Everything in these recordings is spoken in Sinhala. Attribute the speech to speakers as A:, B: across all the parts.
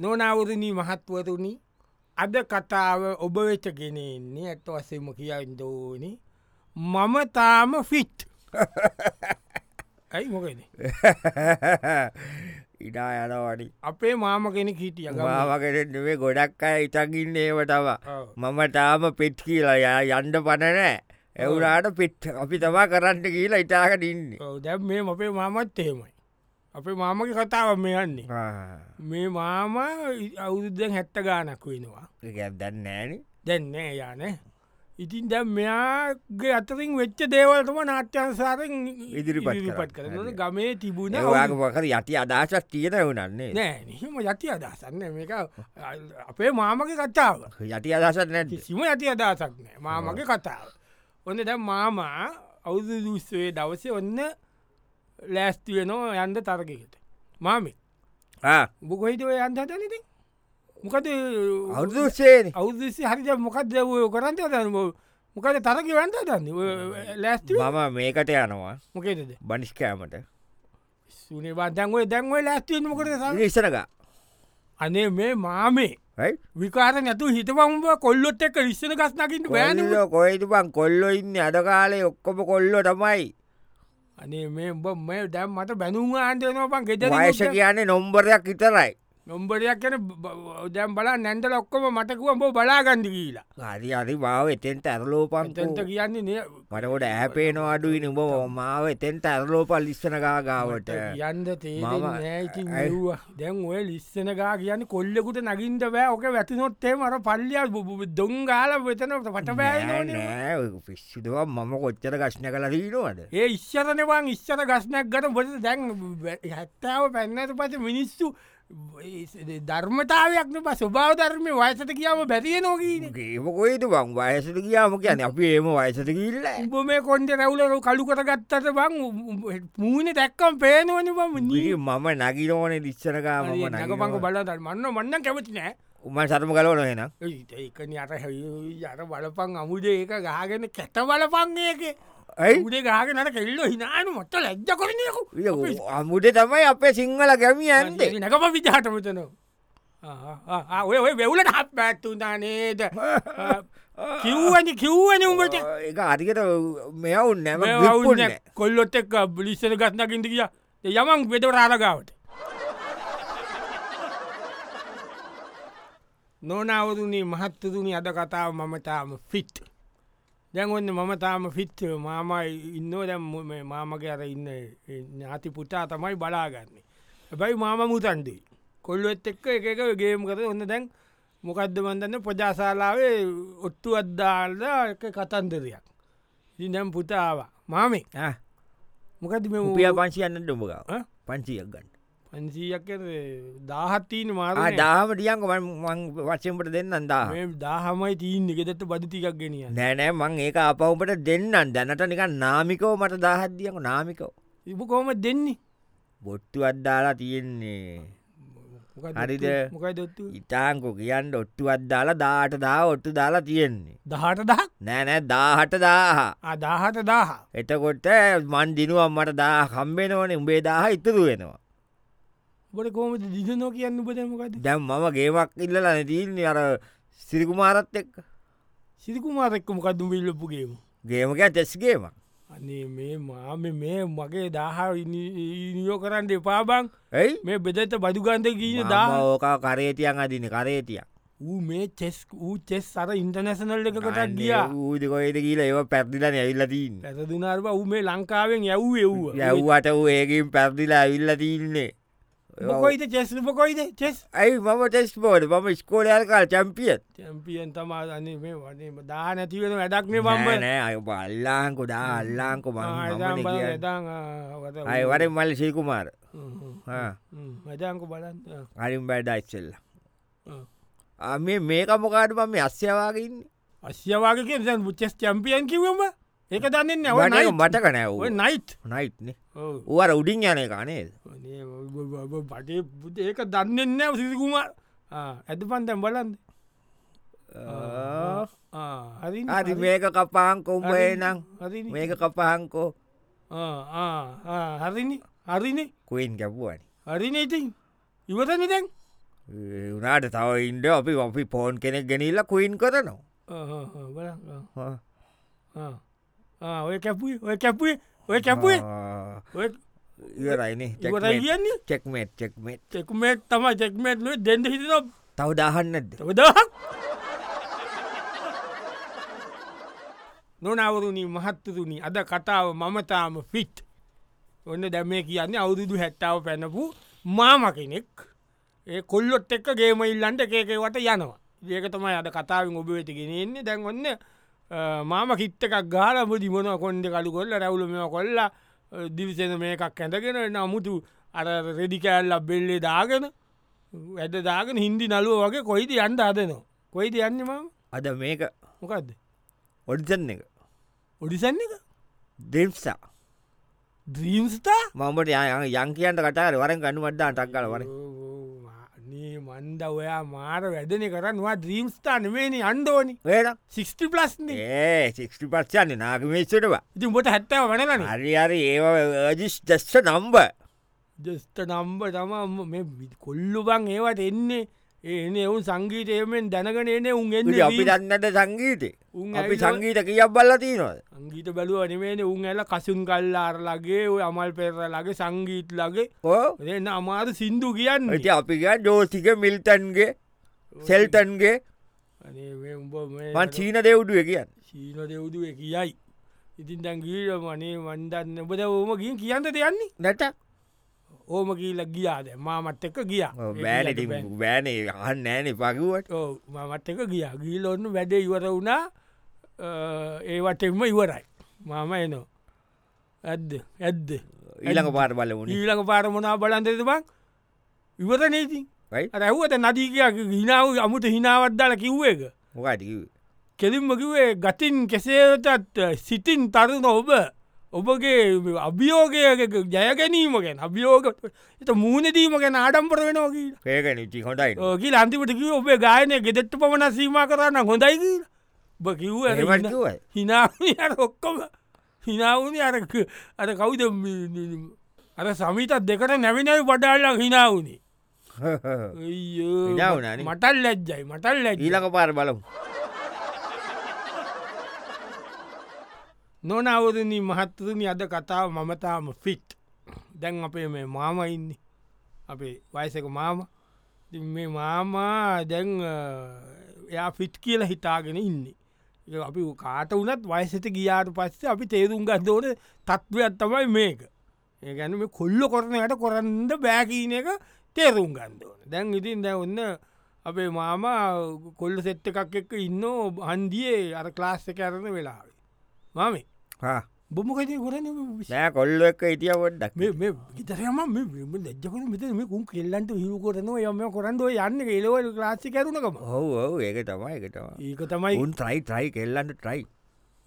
A: නොනවරණී මහත්වරුණි අද කතාව ඔබ වෙත ගෙනෙන්නේ ඇත්ත වසම කියන්න දෝනි මම තාම ෆිට් ඇයි මොකද
B: ඉඩා යනවනි
A: අපේ මාම කෙනෙ හිටිය
B: ගමාවකටේ ගොඩක් අය ඉතකින්න ඒවටව මම තාම පෙට් කියලා යා යන්ඩ පණනෑ එවුරාට පෙට් අපි තමා කරන්න කියලා ඉතාකට ඉන්න
A: දැම් මේ අපේ මාමත් එහෙමයි අපේ මාමක කතාව මෙයන්නේ මේ මාම අවුරුද්ධෙන් හැත්ත ගානක් වෙනවා
B: ගැබ් දන්නෑන
A: දැන්නෑ යානෑ ඉතින් දැ මෙයාගේ අතරින් වෙච්ච දේවල්තම නාට්‍යන්සාරෙන්
B: ඉදිරිපත්
A: ඉදිරිපත්
B: කරන්න.
A: කරන ගමේ තිබුණ
B: ඒවාගේ පොකර යටි අදහසක් තියෙන වුණන්නේ
A: නෑ නිහම යති අදහසන්න මේක අපේ මාමගේ කතාව
B: යටි අදහසත් නැති
A: කිසිම ඇති අදහසක් නෑ මාමගේ කතාව ඔන්න දැ මාමා අවුදු දුස්සේ දවසේ ඔන්න ලෑස්තිවෙනෝ යන්ද තරකකට මාමි බොකොහිට ඔය යන්ත තනති මොකද
B: අවුදුසේන
A: අවුදසි හරිද මොකක්ද ඔය කරන්ත දන මොකද තරක වන්ත දන්න ලෑස්ති
B: මම මේකට යනවා
A: මොකේද
B: බනිස්කෑමට
A: සුනේ බදන්ුවේ දැන්ුව ලෑස්තිවෙන් මොකද
B: ඉස්සරක
A: අනේ මේ මාමේ විකාර නැතු හිතවම්ව කොල්ලොත් එක්ක විස්සන ගස්නකින්ට බෑන
B: කොයිතු පන් කොල්ලො ඉන්න අද කාලේ ඔක්කොම කොල්ලො තමයි
A: අනේ මේ උඹ මේ දැම් මට බැනුම් ආන්දයනපන් ගෙද
B: වයස කියන්නේ නොම්බරයක් විතරයි
A: නොම්බරයක් කන දැම් බලා නැන්ට ලොක්කොම මටකුව බෝ බලාගන්ඩ කියලා
B: හරි අරි මාව එතෙන්ට ඇරලෝපන්
A: තන්ත කියන්නේ නේ
B: මටකොට ඇපේන අඩුයි නුබ මාව එතෙන්ට ඇරලෝපල් ඉස්සනගාගාවට
A: යන්ද
B: මම-
A: තේනෑති
B: ඇයි?
A: ඇවා දැන් ඔය ලිස්සනගා කියන්න කොල්ලෙකුට නගින්ට බෑ ඕක වැතිනොත්තේ මර පල්ලියල් දොංගාල වෙතනට පට බෑනනේ
B: පිස්සිදුව මම කොච්චර ගශ්න කල දීනවද
A: ඒ ඉශ්චතනවන් ඉශ්චත ගස්නයක් ගට බොට දැන් හැත්තාව පැන්නට පස මිනිස්සු ධර්මතාවයක්න ප ස්වභාව ධර්මය වයසට කියාව බැරිය නොකීන
B: ඒමකොයිතු බං වයසට කියාම කියන අපි ඒම වයසට කිල්ල
A: උඹ මේ කොන්ට රැවුලර කලු කර ගත්තට බං මූුණ දැක්කම් පේනවන බම
B: මම නගිනෝන දිස්සනකාම
A: නඟපංක බලතල් මන්න මන්න කැමති නෑ
B: උම සරම කලවන හෙන
A: ඒකන අර හ අර බලපං අමුදේ ඒක ගාගෙන කැත බලපංයක
B: ඇයි
A: උඩේ ගාගෙනට කෙල්ල හිනාන මට ලැජ්ජ කරනයකු
B: අමුට තමයි අපේ සිංහල ගැමිය ඇන්දේ
A: නැකම විජාට මෙතන ඔය ඔය වෙවුලට හත් පැත්තුනා නේද කිව්වනි කිව්වන උඹට
B: ඒක අරිකට මෙවුන් නැම
A: වුන කොල්ලොත් එක් බලිස්සර ගත්නකින්ට කිය යමන් වෙද රාරගාවට නොනවරුණේ මහත්තතුනි අද කතාව මම තාම ෆිට් දැන්ඔන්න මම තාම ෆිට් මාමයි ඉන්න දැම් මාමක අර ඉන්න ඥාති පුටා තමයි බලාගන්නේ හැබැයි මාම මුතන්දී කොල්ලොත් එක්ක එක එක ගේම් කර ඔන්න දැන් මොකක්ද වන්දන්න ප්‍රජාශාලාවේ ඔත්තු අද්දාල්ද එක කතන්දරයක් ඉනම් පුතාවා මාමේ මොකද මේ
B: උපිය පංචියන්න ඩොමගාව
A: ඈ?
B: පංචියක් ගන්න
A: පන්සීයක් දාහත්තීන මාර
B: දාහම ටියන්ක වචෙන්ට දෙන්නන් දා
A: දාහමයි තීන් එකෙදත්ත බදතිකක් ගෙනිය
B: නෑනෑ මං ඒක අපවුමට දෙන්නන් දැනට නික නාමිකෝ මට දාහත්දියක නාමිකෝ
A: ඉප කොම දෙන්නේ
B: බොට්ටු අද්දාලා තියෙන්නේ
A: මොකක්ද
B: හරිද?
A: ඔත්තු? මොකයි දොත්තු
B: ඉතාංකු කියන්න ඔට්ටු අද්දාලා දාට දා ඔට්ටු දාලා තියෙන්නේ
A: දහට දහ
B: නෑනෑ දාහට දාහ
A: අදාහට දාහ
B: එතකොට මන් දිනුවම් මට දා කම්බෙනවනේ උඹේ දාහ ඉතුරු වෙනවා
A: බොට කෝමද දිදනෝ කියන්න උපදමකද
B: දැම් මම ගේමක් ඉල්ලලා තියන්නේ අර සිරිකුමාරත් එක්
A: සිරිකුමාරක්කම කදු විල්ලපුගේම
B: ගේමක තෙස්ගේම
A: අනේ මේ මාම මේ මගේ දාහ නියෝ කරන්න එපාබං
B: ඇයි
A: මේ බෙදත බදුගන්ධ කියන දා
B: මම ඕකා කරේතියන් අදින කරේතියක්
A: ඌ මේ චෙස් ූ චෙස් අර ඉන්ටනැසනල් එකකටක් ගියා
B: ඌදකොයිද කියලා ඒව පැත්දිලන ඇවිල්ලතින්න
A: පැසදුනාර්ව උ මේ ලංකාවෙන් යව් එව්වා
B: යව්වට වූ ඒකින් පැත්දිලා ඇවිල්ලතින්නේ
A: මොකොයිද චෙස්ලප කොයිද චෙස්
B: ඇයි මම ටෙස් බෝඩ ම ස්කෝලයාල්කාල් චම්පියත්
A: චැම්පියන් තමා දන්නේ මේ වනේ දා නැතිවෙන වැඩක්න බම්බ
B: නෑ අය බල්ලාංකො දා අල්ලාංකො මම අයවර මල් සිකුමාර
A: මජංකු බලන්න ආ,
B: අලින් බඩයිස්සෙල්ල
A: ආ.
B: මේ මේක මොකාට පම අස්්‍යවාගන්න
A: අස්්‍යවාගේ කිය දැන් චෙස් චැම්පියන් කිවම ඒක දන්න නව
B: වනය
A: නයි
B: මට කනැව
A: නයිට්
B: නයිට්න ඌවර උඩින් යන කනේද
A: පටේ පුත ඒක දන්නන්නෑ සිසිකුමා ඇද පන්තැම් බලන්න හරි
B: අරි මේක කපාංකො උඹේ නම්
A: හරි
B: මේක කපාංකෝ
A: හරිනි හරිනි
B: කුවන් ගැපුුවනි
A: හරින ඉතින් ඉවතනි දැන්
B: වනාට තව ඉන්ඩ අපි අපි පෝන් කෙනෙක් ගැනිල්ල කුයින් කරනවා
A: බල
B: හා.
A: oh. ඔය කැපුයි ඔය කැපුයි ඔය කැපුයි
B: Ah, ආ,
A: ඔය
B: ඉවරයිනේ
A: ඉවරයි කියන්නේ
B: චෙක්මේට් චෙක්මේට්
A: චෙක්මේට් තම චෙක්මේට් ලේ දෙන්ඩ හිතන
B: තව දාහන්නද
A: තවදහක් නොනවරුණී මහත්තතුනි අද කතාව මමතාම ෆිට් ඔන්න දැම කියන්නේ අවුරුදු හැත්තාව පැනපු මාම කෙනෙක් ඒ කොල්ලොත් එක්ක ගේමඉල්ලන්ට කේකවට යනවා ඒක තමයි අද කතාවෙන් ඔබ වෙතිගෙනෙන්නේ දැන් ඔන්න මාම කිත්තකක් ගාලබ දිමන කොන්ඩ කලු කොල්ල රැවුලම කොල්ලා දිවිසෙන මේකක් ඇඳගෙන නමුතු අර රෙඩිකෑල්ල බෙල්ලේ දාගෙන ඇද දාගෙන හින්දි නලුව වගේ කොයිද යන්ට අදනවා කොයිද යන්න මම
B: අද මේක
A: මොකක්ද
B: ඔඩිසන් එක
A: ඔඩිසන් එක
B: දෙම්සා
A: ද්‍රීම්ස්තා
B: මමට ය- යන් කියන්ට කටාර වරෙන් ගනුවට්ඩා ටක්කල වර
A: නේ මන්ද ඔයා මාර වැඩන කරන්නවා ද්‍රීම්ස්ථා නවේනි අන්ඩෝනි
B: වේන
A: සිික්ටි ප්ලස්නේ
B: ඒ සිික්ටි පත්යන්න නාගමේස්සටවා
A: ඉතින් බොට හැත්තව වනලන
B: හරිහරි ඒ ජිස් දස්ස නම්බ
A: ජෙස්ට නම්බ තම කොල්ලු බං ඒවට එන්නේ ඒන එවුන් සංගීතයමෙන් දැනගෙන එන්නේ උන් එන්න
B: අපි දන්නට සංගීතය
A: උන්
B: අපි
A: ඇවිල්ලා-
B: සංගීත කියක් බල්ලතිී නොද
A: සංගීත බැලුව නිමේන උන් ඇල කසුන් කල්ලාර ලගේ ඔය අමල් පෙර ලගේ සංගීත් ලගේ
B: ඕ
A: එන්න අමාර සින්දු කියන්න
B: ඉති අපි ගියා ජෝසික මිල්ටන්ගේ සෙල්ටන්ගේ
A: අනේ මේ උඹ මේ
B: මන් චීන දෙව්ඩුව කියන්න
A: සීන දෙවුදුව කියයි ඉතින් දැන් ගීට මනේ වන්දන්න ඔබද ඕම ගින් කියන්න දෙයන්නේ
B: නැට
A: ඕම කියීල ගියාද මාමත් එක්ක ගියා
B: බෑනටි බෑනේ අහන්න නෑන පකිවට
A: ඔව්, මමත් එක ගිය ගීල ඔන්න වැඩ ඉවර වුණා ඒවටෙම ඉවරයි මම එනෝ ඇද්ද ඇද්ද
B: ඊළඟ පාට බල වුණ
A: ඊලක පාරමනා බලන්දෙද බං ඉවර නීතින්
B: යි
A: රැව්වත නදීකයක් හිනාව අමුට හිනාවත්දාල කිව්ව එක
B: මොකටක
A: කෙලින්මකිවේ ගතින් කෙසේතත් සිතින් තරුණ ඔබ ඔබගේ අභියෝගයක ජයගැනීම ගැන අභියෝග එත මූුණදීම ගැන ආඩම්පර වෙනෝකී
B: ඒක නිචි හොඳයි
A: ඕකී අන්තිමටකිව ඔබේ ගායනය ගෙදෙට්ට පමණ සීම කරන්න හොඳයි කියලා. ඔබ කිව්ව අර
B: ඒවත්
A: හිනා-
B: කිව්වද?
A: හිනාවුනේ අර ඔක්කොම හිනාවුණ අරක අර කවුද ම- අර සමීතත් දෙකට නැවිනැවි වඩාල්ලා හිනාවුණේ
B: හිනා වුණානේ.
A: මටල් ලැජ්ජයි මටල් ලැජ
B: ඊළඟ පාර බලමු
A: නොනවරණී මහත්තරනි අද කතාව මමතාම ෆිට් දැන් අපේ මේ මාම ඉන්න අපේ වයසක මාම ඉතින් මේ මාමා දැන් අ, එයා ෆිට් කියලා හිතාගෙන ඉන්නේ ඒක අපි කාට වනත් වයසට ගියාට පස්සේ අපි තේරුම් ගත්දෝන තත්ත්වයක් තමයි මේක ඒ ගැන මේ කොල්ල කොරනයට කොරන්න බෑකීන එක තේරුම් ගන්දෝන දැන් ඉතින් දැ ඔන්න අපේ මාම කොල්ල සෙට්ට එකක් එක්ක ඉන්න හන්දියේ අර ක්ලාස්ස කරන වෙලාවේ මම
B: හා,
A: බොමකතය කොරන
B: නෑ කොල්ල එක ඉටිය පොඩ්ඩක්
A: ගිතරයම දජකන මෙත මේකුම් කෙල්ලන්ට හිරු කරනවා යම කොරන්ඩ යන්න එලවල් ලාස්සි කරුණකම
B: ඔහු ඔහු ඒක තමයි එකටවා
A: ඒක තමයි
B: උන් ට්‍රයි ට්‍රයි කෙල්ලන්න ට්‍රයි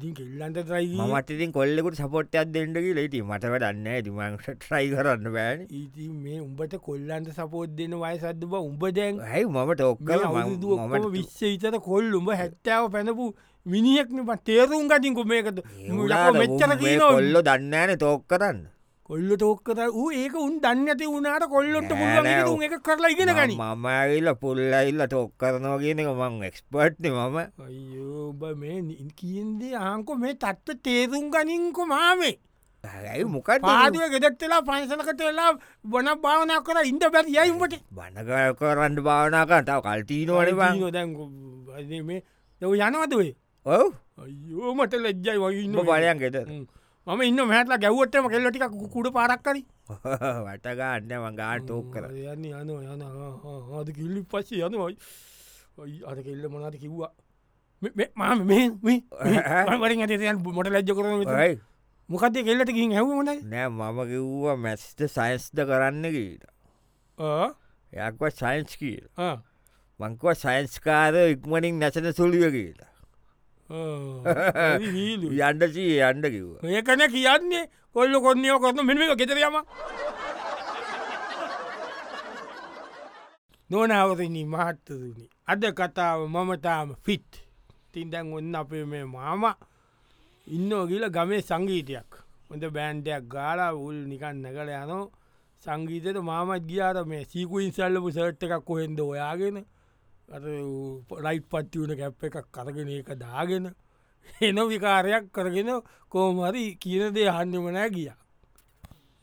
A: ඉතින් කෙල්ලන්ට තරයි
B: මටතින් කොල්ලෙකුට සපොට්ටයක් දෙන්නකි ලේටි මට වැඩන්න ඇතිමට ට්‍රයි කරන්න බෑන
A: ඉති මේ උඹට කොල්ලන්ට සපෝද් දෙන වයසද්ද බ උඹ දැන්
B: ඇයි මමට ඔක්කල
A: දුවම විශ්ස විතර කොල් උඹ හැත්තාව පැනපු මිනිියෙක්න ප තේරුම් ගතින්කු මේකද මෙච්චර
B: කොල්ල දන්නෑන තෝක් කරන්න
A: කොල්ල තෝක්කත වූ ඒක උන් දන්න ඇති වුණට කොල්ලොට පුළුවන් එක කරලා ඉගෙන ගනි
B: මම ඇවිල්ල පුල්ලඉල්ල තෝක් කරනවා කියන එක මං එක්ස්පර්ට්න මම
A: අයෝ ඔබ මේ නින් කියන්දේ ආංකො මේ තත්ව තේරුම් ගනින්කො මාමේ
B: ඇයි මොකට
A: පාදුව ගෙදක්වෙලා පන්සලකටවෙලා බොන භාවනා කර ඉන්ද බැත් යයිමට
B: බණකය කරන්න භාවනාකන්තාව කල්ටීනවන බං
A: දැ මේ දව යනවතුවේ
B: ඔව
A: අයෝ මට ලැජ්ජයි වගේන්න
B: බලයන් ගෙත
A: මම ඉන්න මහටලා ගැව්වටම කෙල්ලටික කුඩ පාරක්කරි
B: වටගන්න මංගාට තෝක් කර
A: යන්න යන යන ආද කිල්ලි පස්සේ යනවයි ඔයි අද කෙල්ල මොනාද කිව්වා මම මේ වරින් ඇතයන් මොට ලජ්ජ කරන
B: යි
A: මොකක්ද කෙල්ලට ගින් හැවමනයි
B: නෑ මම කිව්ව මැස්ට සයින්ස්ද කරන්න කීට යක්ව සයින්ස් කියීල මංකව සයින්ස්කාර ඉක්මනින් නැසන සුළුව කියලා යන්ඩසී යන්ඩ කිව්ව
A: ඒකන කියන්නේ කොල්ල කොන්නයෝ කොන්න මෙම ගෙතරයම නොනවරණ මහත්තදුනි අද කතාව මමතාම ෆිට් තින් දැන් ඔන්න අපේ මේ මාම ඉන්න ගිල ගමේ සංගීතයක් හොඳ බෑන්්ඩයක් ගාලා උල් නිකන් නැකල යනෝ සංගීතයට මාමත් ගියාර මේ සීකුයින් සැල්ලපු සර්ට් එකක් කොහෙන්ද ඔයාගෙන රයිට් පත්තිවුණ කැප් එකක් කරගෙන ඒක දාගෙන එන විකාරයක් කරගෙන කෝමරි කියනදේ හන්්‍යමනෑ ගිය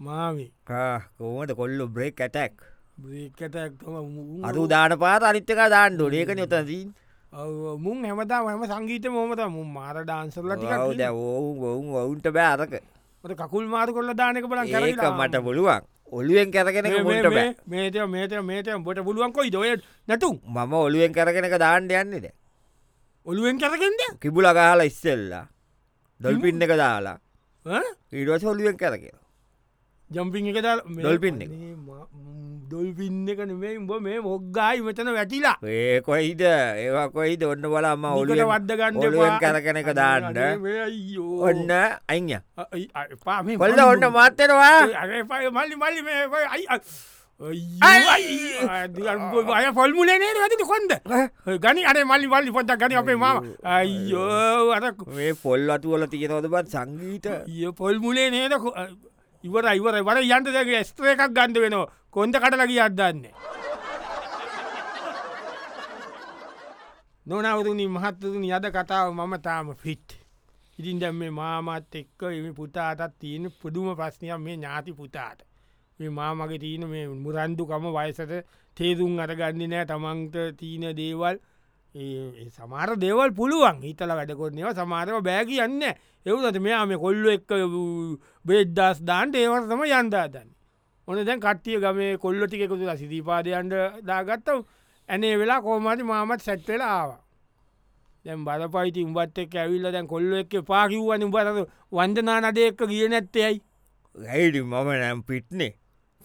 A: මාමේ
B: කෝමට කොල්ලු බ්‍රේක් ඇටැක්
A: බ්‍රේකට ඇක්තම
B: අරු දාන පාත අනිත්තක දාණ්ඩු ඒක යොතදී
A: මුන් හැමතා හම සංගීත මොමත මු මාර ඩාන්සල්ලට
B: ඔවුද ඔවුන් ඔවුන් ඔවුන්ට බෑරක
A: කකුල් මාර කොල්ල දානක බල
B: ඒක මට පුළුවන් ඔලුවෙන් කරගෙන මුට බෑ
A: මේට මේට මේට බොට පුළුවන්කොයි දොය නැතුම්
B: මම ඔලුවෙන් කරගෙනක දාණ්ඩ යන්නේද
A: ඔලුවෙන් කරගෙන්ද
B: කිබුල ගහලා ඉස්සෙල්ලා දොල්පින්න එක දාලා ඊඩුවස ඔලුවෙන් කරගෙන
A: ජම්පින් එක
B: ඩොල්ෆින් එක.
A: ඩොල්පින් එක නෙමේ උඹ මේ මොක්්ගායි මෙතන වැටිලා
B: ඒකොයිද ඒකොයිද ඔන්න බලම ඔලුවෙන්
A: වදගන්න
B: ඔලුවෙන් කරගෙන එක දාන්න ඔන්න අයිය
A: පාම
B: කොල්ල ඔන්න මාත්තෙනවා
A: මල්ලි මල්ලි මේ ඔය අයි අ- අයියෝ. ආ, දිගට උඹ අය පොල්මුලේ නේද ඇති කොන්ද ගනි අන මල්ලි මල්ලි පොත්ත ගනි අපේ මාම අයියෝ අරක්
B: මේ පොල් අතුවල තියෙනවදබත් සංගීත
A: ය පොල් මුලේ නේද කො- ඉවර ඉවර වර යන්ත දෙක ස්ත්‍ර එකක් ගන්ධ වෙනවා කොන්ද කටලගිය අදන්න නොනවරුණි මහත්තතුනි අද කතාව මම තාම ෆිට් ඉතින් දැම් මේ මාමත් එක්ක එම පුතාටත් තියෙන පුදුම ප්‍රශ්නයක් මේ ඥාති පුතාට මේ මාමගේ තියන මේ මුරන්දුකම වයසට තේරුම් අරගන්න නෑ තමන්ට තියන දේවල් ඒ- ඒ සමහර දේවල් පුළුවන් හිතල වැඩකොන්නව සමාරව බෑ කියන්න එවුදට මෙයාම කොල්ලු එක් බෙද්දස් දාන්ට ඒවටතම යන්දාදන්න ඕන දැන් කට්ටිය ගමේ කොල්ල ටිකෙකුතු සිදීපාදයන්ට දාගත්ත ඇනේ වෙලා කෝමති මාමත් සැට්වෙලාවා දැම් බලපයිති උඹත් එක් ඇවිල්ල දැන් කොල්ල එක් පාකිව්වන උඹරද වන්දනා නඩයක්ක කිය නැත්තයයි
B: ඇයිඩි මම නැම් පිට්නේ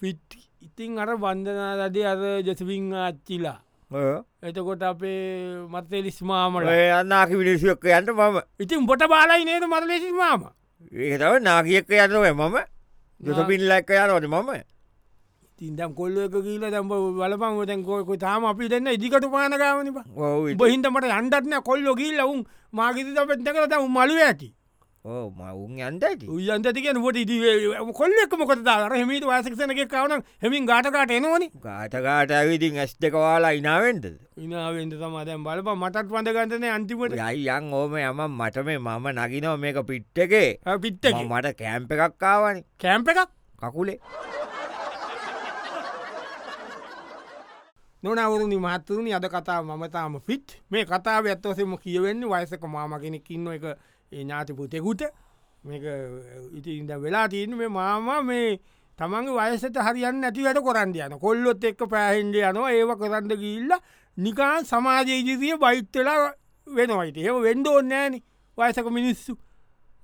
A: පිට් ඉතින් අර වන්දනාදේ අර ජැසවිං අච්චිලා එතකොට අපේ මත්තෙලිස් මාමල
B: ඔය අන්නාකි විනිසුවක්ක යන්ට මම
A: ඉතින් බොට බාලයි නේද මරලෙසි මාම
B: ඒකතව නාකියක්ක යන්නව මම ජොත පිල්ලක්ක යනවට මම
A: තින්දම් කොල්ල එක කියීල දැම්බ වලපන් තැන්කෝක තාම අපි දෙන්න ඉදිකට පානගාවනිප
B: ඔව් ඉතින්.
A: බහින්දමට අන්ඩත්න කොල්ලො ගිල්ල උන් මාගිත පෙත්තකට ම මලු ඇති
B: ඔව් මවුන් යන්ට ඇති
A: උයන්තතික නොට ඉදි කොල්ලෙක් මොකතදාර හමිට වාසක්ෂනක කවන හෙමින් ගාටකාට එනවන
B: ගාටකාට ඇවිදින් ඇස් දෙකවාලා ඉනාවෙන්ටද
A: ඉනාවෙන්ට සමාදැම් බලප මටත් වඳගන්තන අන්තිමට
B: යයියන් ඕම යම මට මේ මම නගිනව මේක පිට්ට එකේ
A: පිත්ත
B: මම මට කෑම්ප එකක්කාවනි
A: කෑම්ප එකක්
B: කකුලේ
A: නොනවරුණි මහත්තරුණි අද කතාව මමතාම ෆිට් මේ කතාව ඇත්තවසෙම කියවෙන්නේ වයසක මාමගෙනෙක් ඉන්න එක ඒ ඥාති පුතෙකුට මේක ඉතින්ද වෙලා තියන මේ මාම මේ තමන් වයසට හරියන්න ඇති වැට කොරන්ද යන කොල්ලොත් එක්ක පෑහෙන්ඩ යනවා ඒව කරන්න ගිල්ල නිකාන් සමාජයජිතිය බයිත්තලා වෙනවයිට ඒ වෙන්ඩ ඕන්නෑන වයසක මිනිස්සු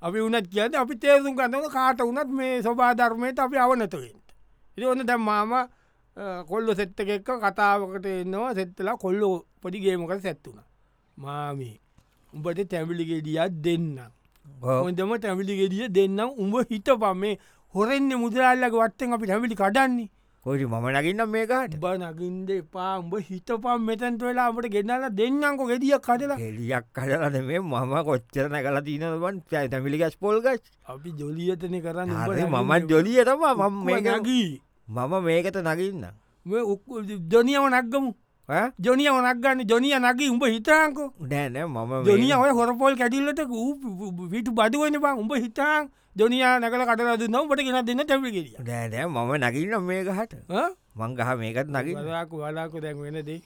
A: අපි උනත් කියද අපි තේරුම් කන්නන කාට වනත් මේ ස්වබාධර්මයට අපි අවනතුවෙන්ට. ඉති ඔන්න දැම් මාම කොල්ල සෙත්තකෙක්ක කතාවකට එන්නවා සෙත්තලා කොල්ලෝ පොඩිගේමකට සැත්තුන. මාමේ උඹට තැමිලිගෙඩියත් දෙන්න. හොදම තැමිලිගෙඩිය දෙන්නම් උඹ හිත පමේ හොරෙන්න්නේ මුදරල්ලක වත්තෙන් අපි ැමිලි කඩන්නේ
B: කොටි මම නගින්නම් මේකාට
A: බනගින්ද එපා උඹ හිත පම් මෙතැන්ට වෙලා අපට ගෙනල්ලා දෙන්නංකො ගෙඩියක් කඩලා
B: හෙලියක් කඩලද මේ මම කොච්චරන කල තිීනවන් තැ තැමිලිගස් පොල්ගස්
A: අපි ජොලියතනය කරන්න
B: මම ජොලිය තම මම
A: ගී
B: මේකත නගින්න
A: ජොනියව නක්ගමු ජොනියව නක්ගන්න ජොනිය නගේ උඹ හිතාංකෝ
B: නෑනෑ මම
A: ජොනිය
B: මේ-
A: ඔය හොරපොල් කැඩිල්ලට විට බදුවන බා උඹ හිතාන් ජොනියා නැකල කටරද නොවට කෙන දෙන්න තැපිකිරිය
B: නෑනෑ මම නගින්න මේකහට මංගහ මේකත් නගින්න
A: වලාකු වලාකු දැන් වෙනදේ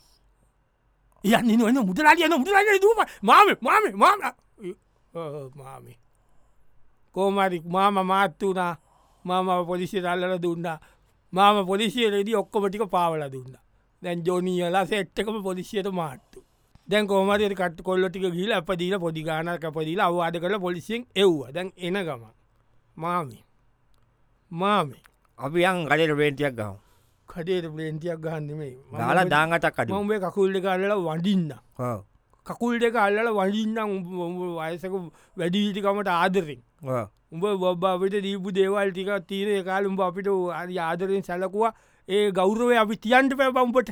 A: යන්න නොන්න මුදලාට යන මුදලාට දූම මාම මාම මාම මාමි කෝමරි මාම මාත්තුනා මාම පොලිසිය රල්ලල දුන්නා මාම පොලිසියලෙදී ඔක්කොමටික පාවල දුන්න දැන් ජොනීලා සෙට්ටකම පොලිසියට මාට්තු දැන් කෝමරයට කට කොල්ලොටික ගිල අපදීල පොඩිගාන කැපදීලා අවවාද කළ පොලිසියෙන් එව්ව දැන් එන ගම මාමි මාමි
B: අපි යන් කලට පේටියක් ගව
A: කඩේට පලේන්තියක් ගහන්නෙමේ
B: දාලා දාගතක් කඩ
A: මම කකුල් දෙක අල්ලලා වඩින්න කකුල් දෙක අල්ලල වඩින්න වයසක වැඩිහිටිකමට ආදරෙන් උඹ බොබ්බ අපිට දීපු දේවල් ටික තීරය කාලුම්ඹ අපිට හරි ආදරෙන් සැලකවා ඒ ගෞරවය අපි තියන්ට පැපම්පට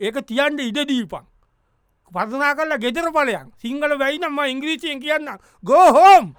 A: ඒක තියන්ට ඉඩ දීපන් පසනා කරලා ගෙතර පලයක් සිංහල වැයිනම්ම ඉංග්‍රීසියෙන් කියන්න ගෝහෝම්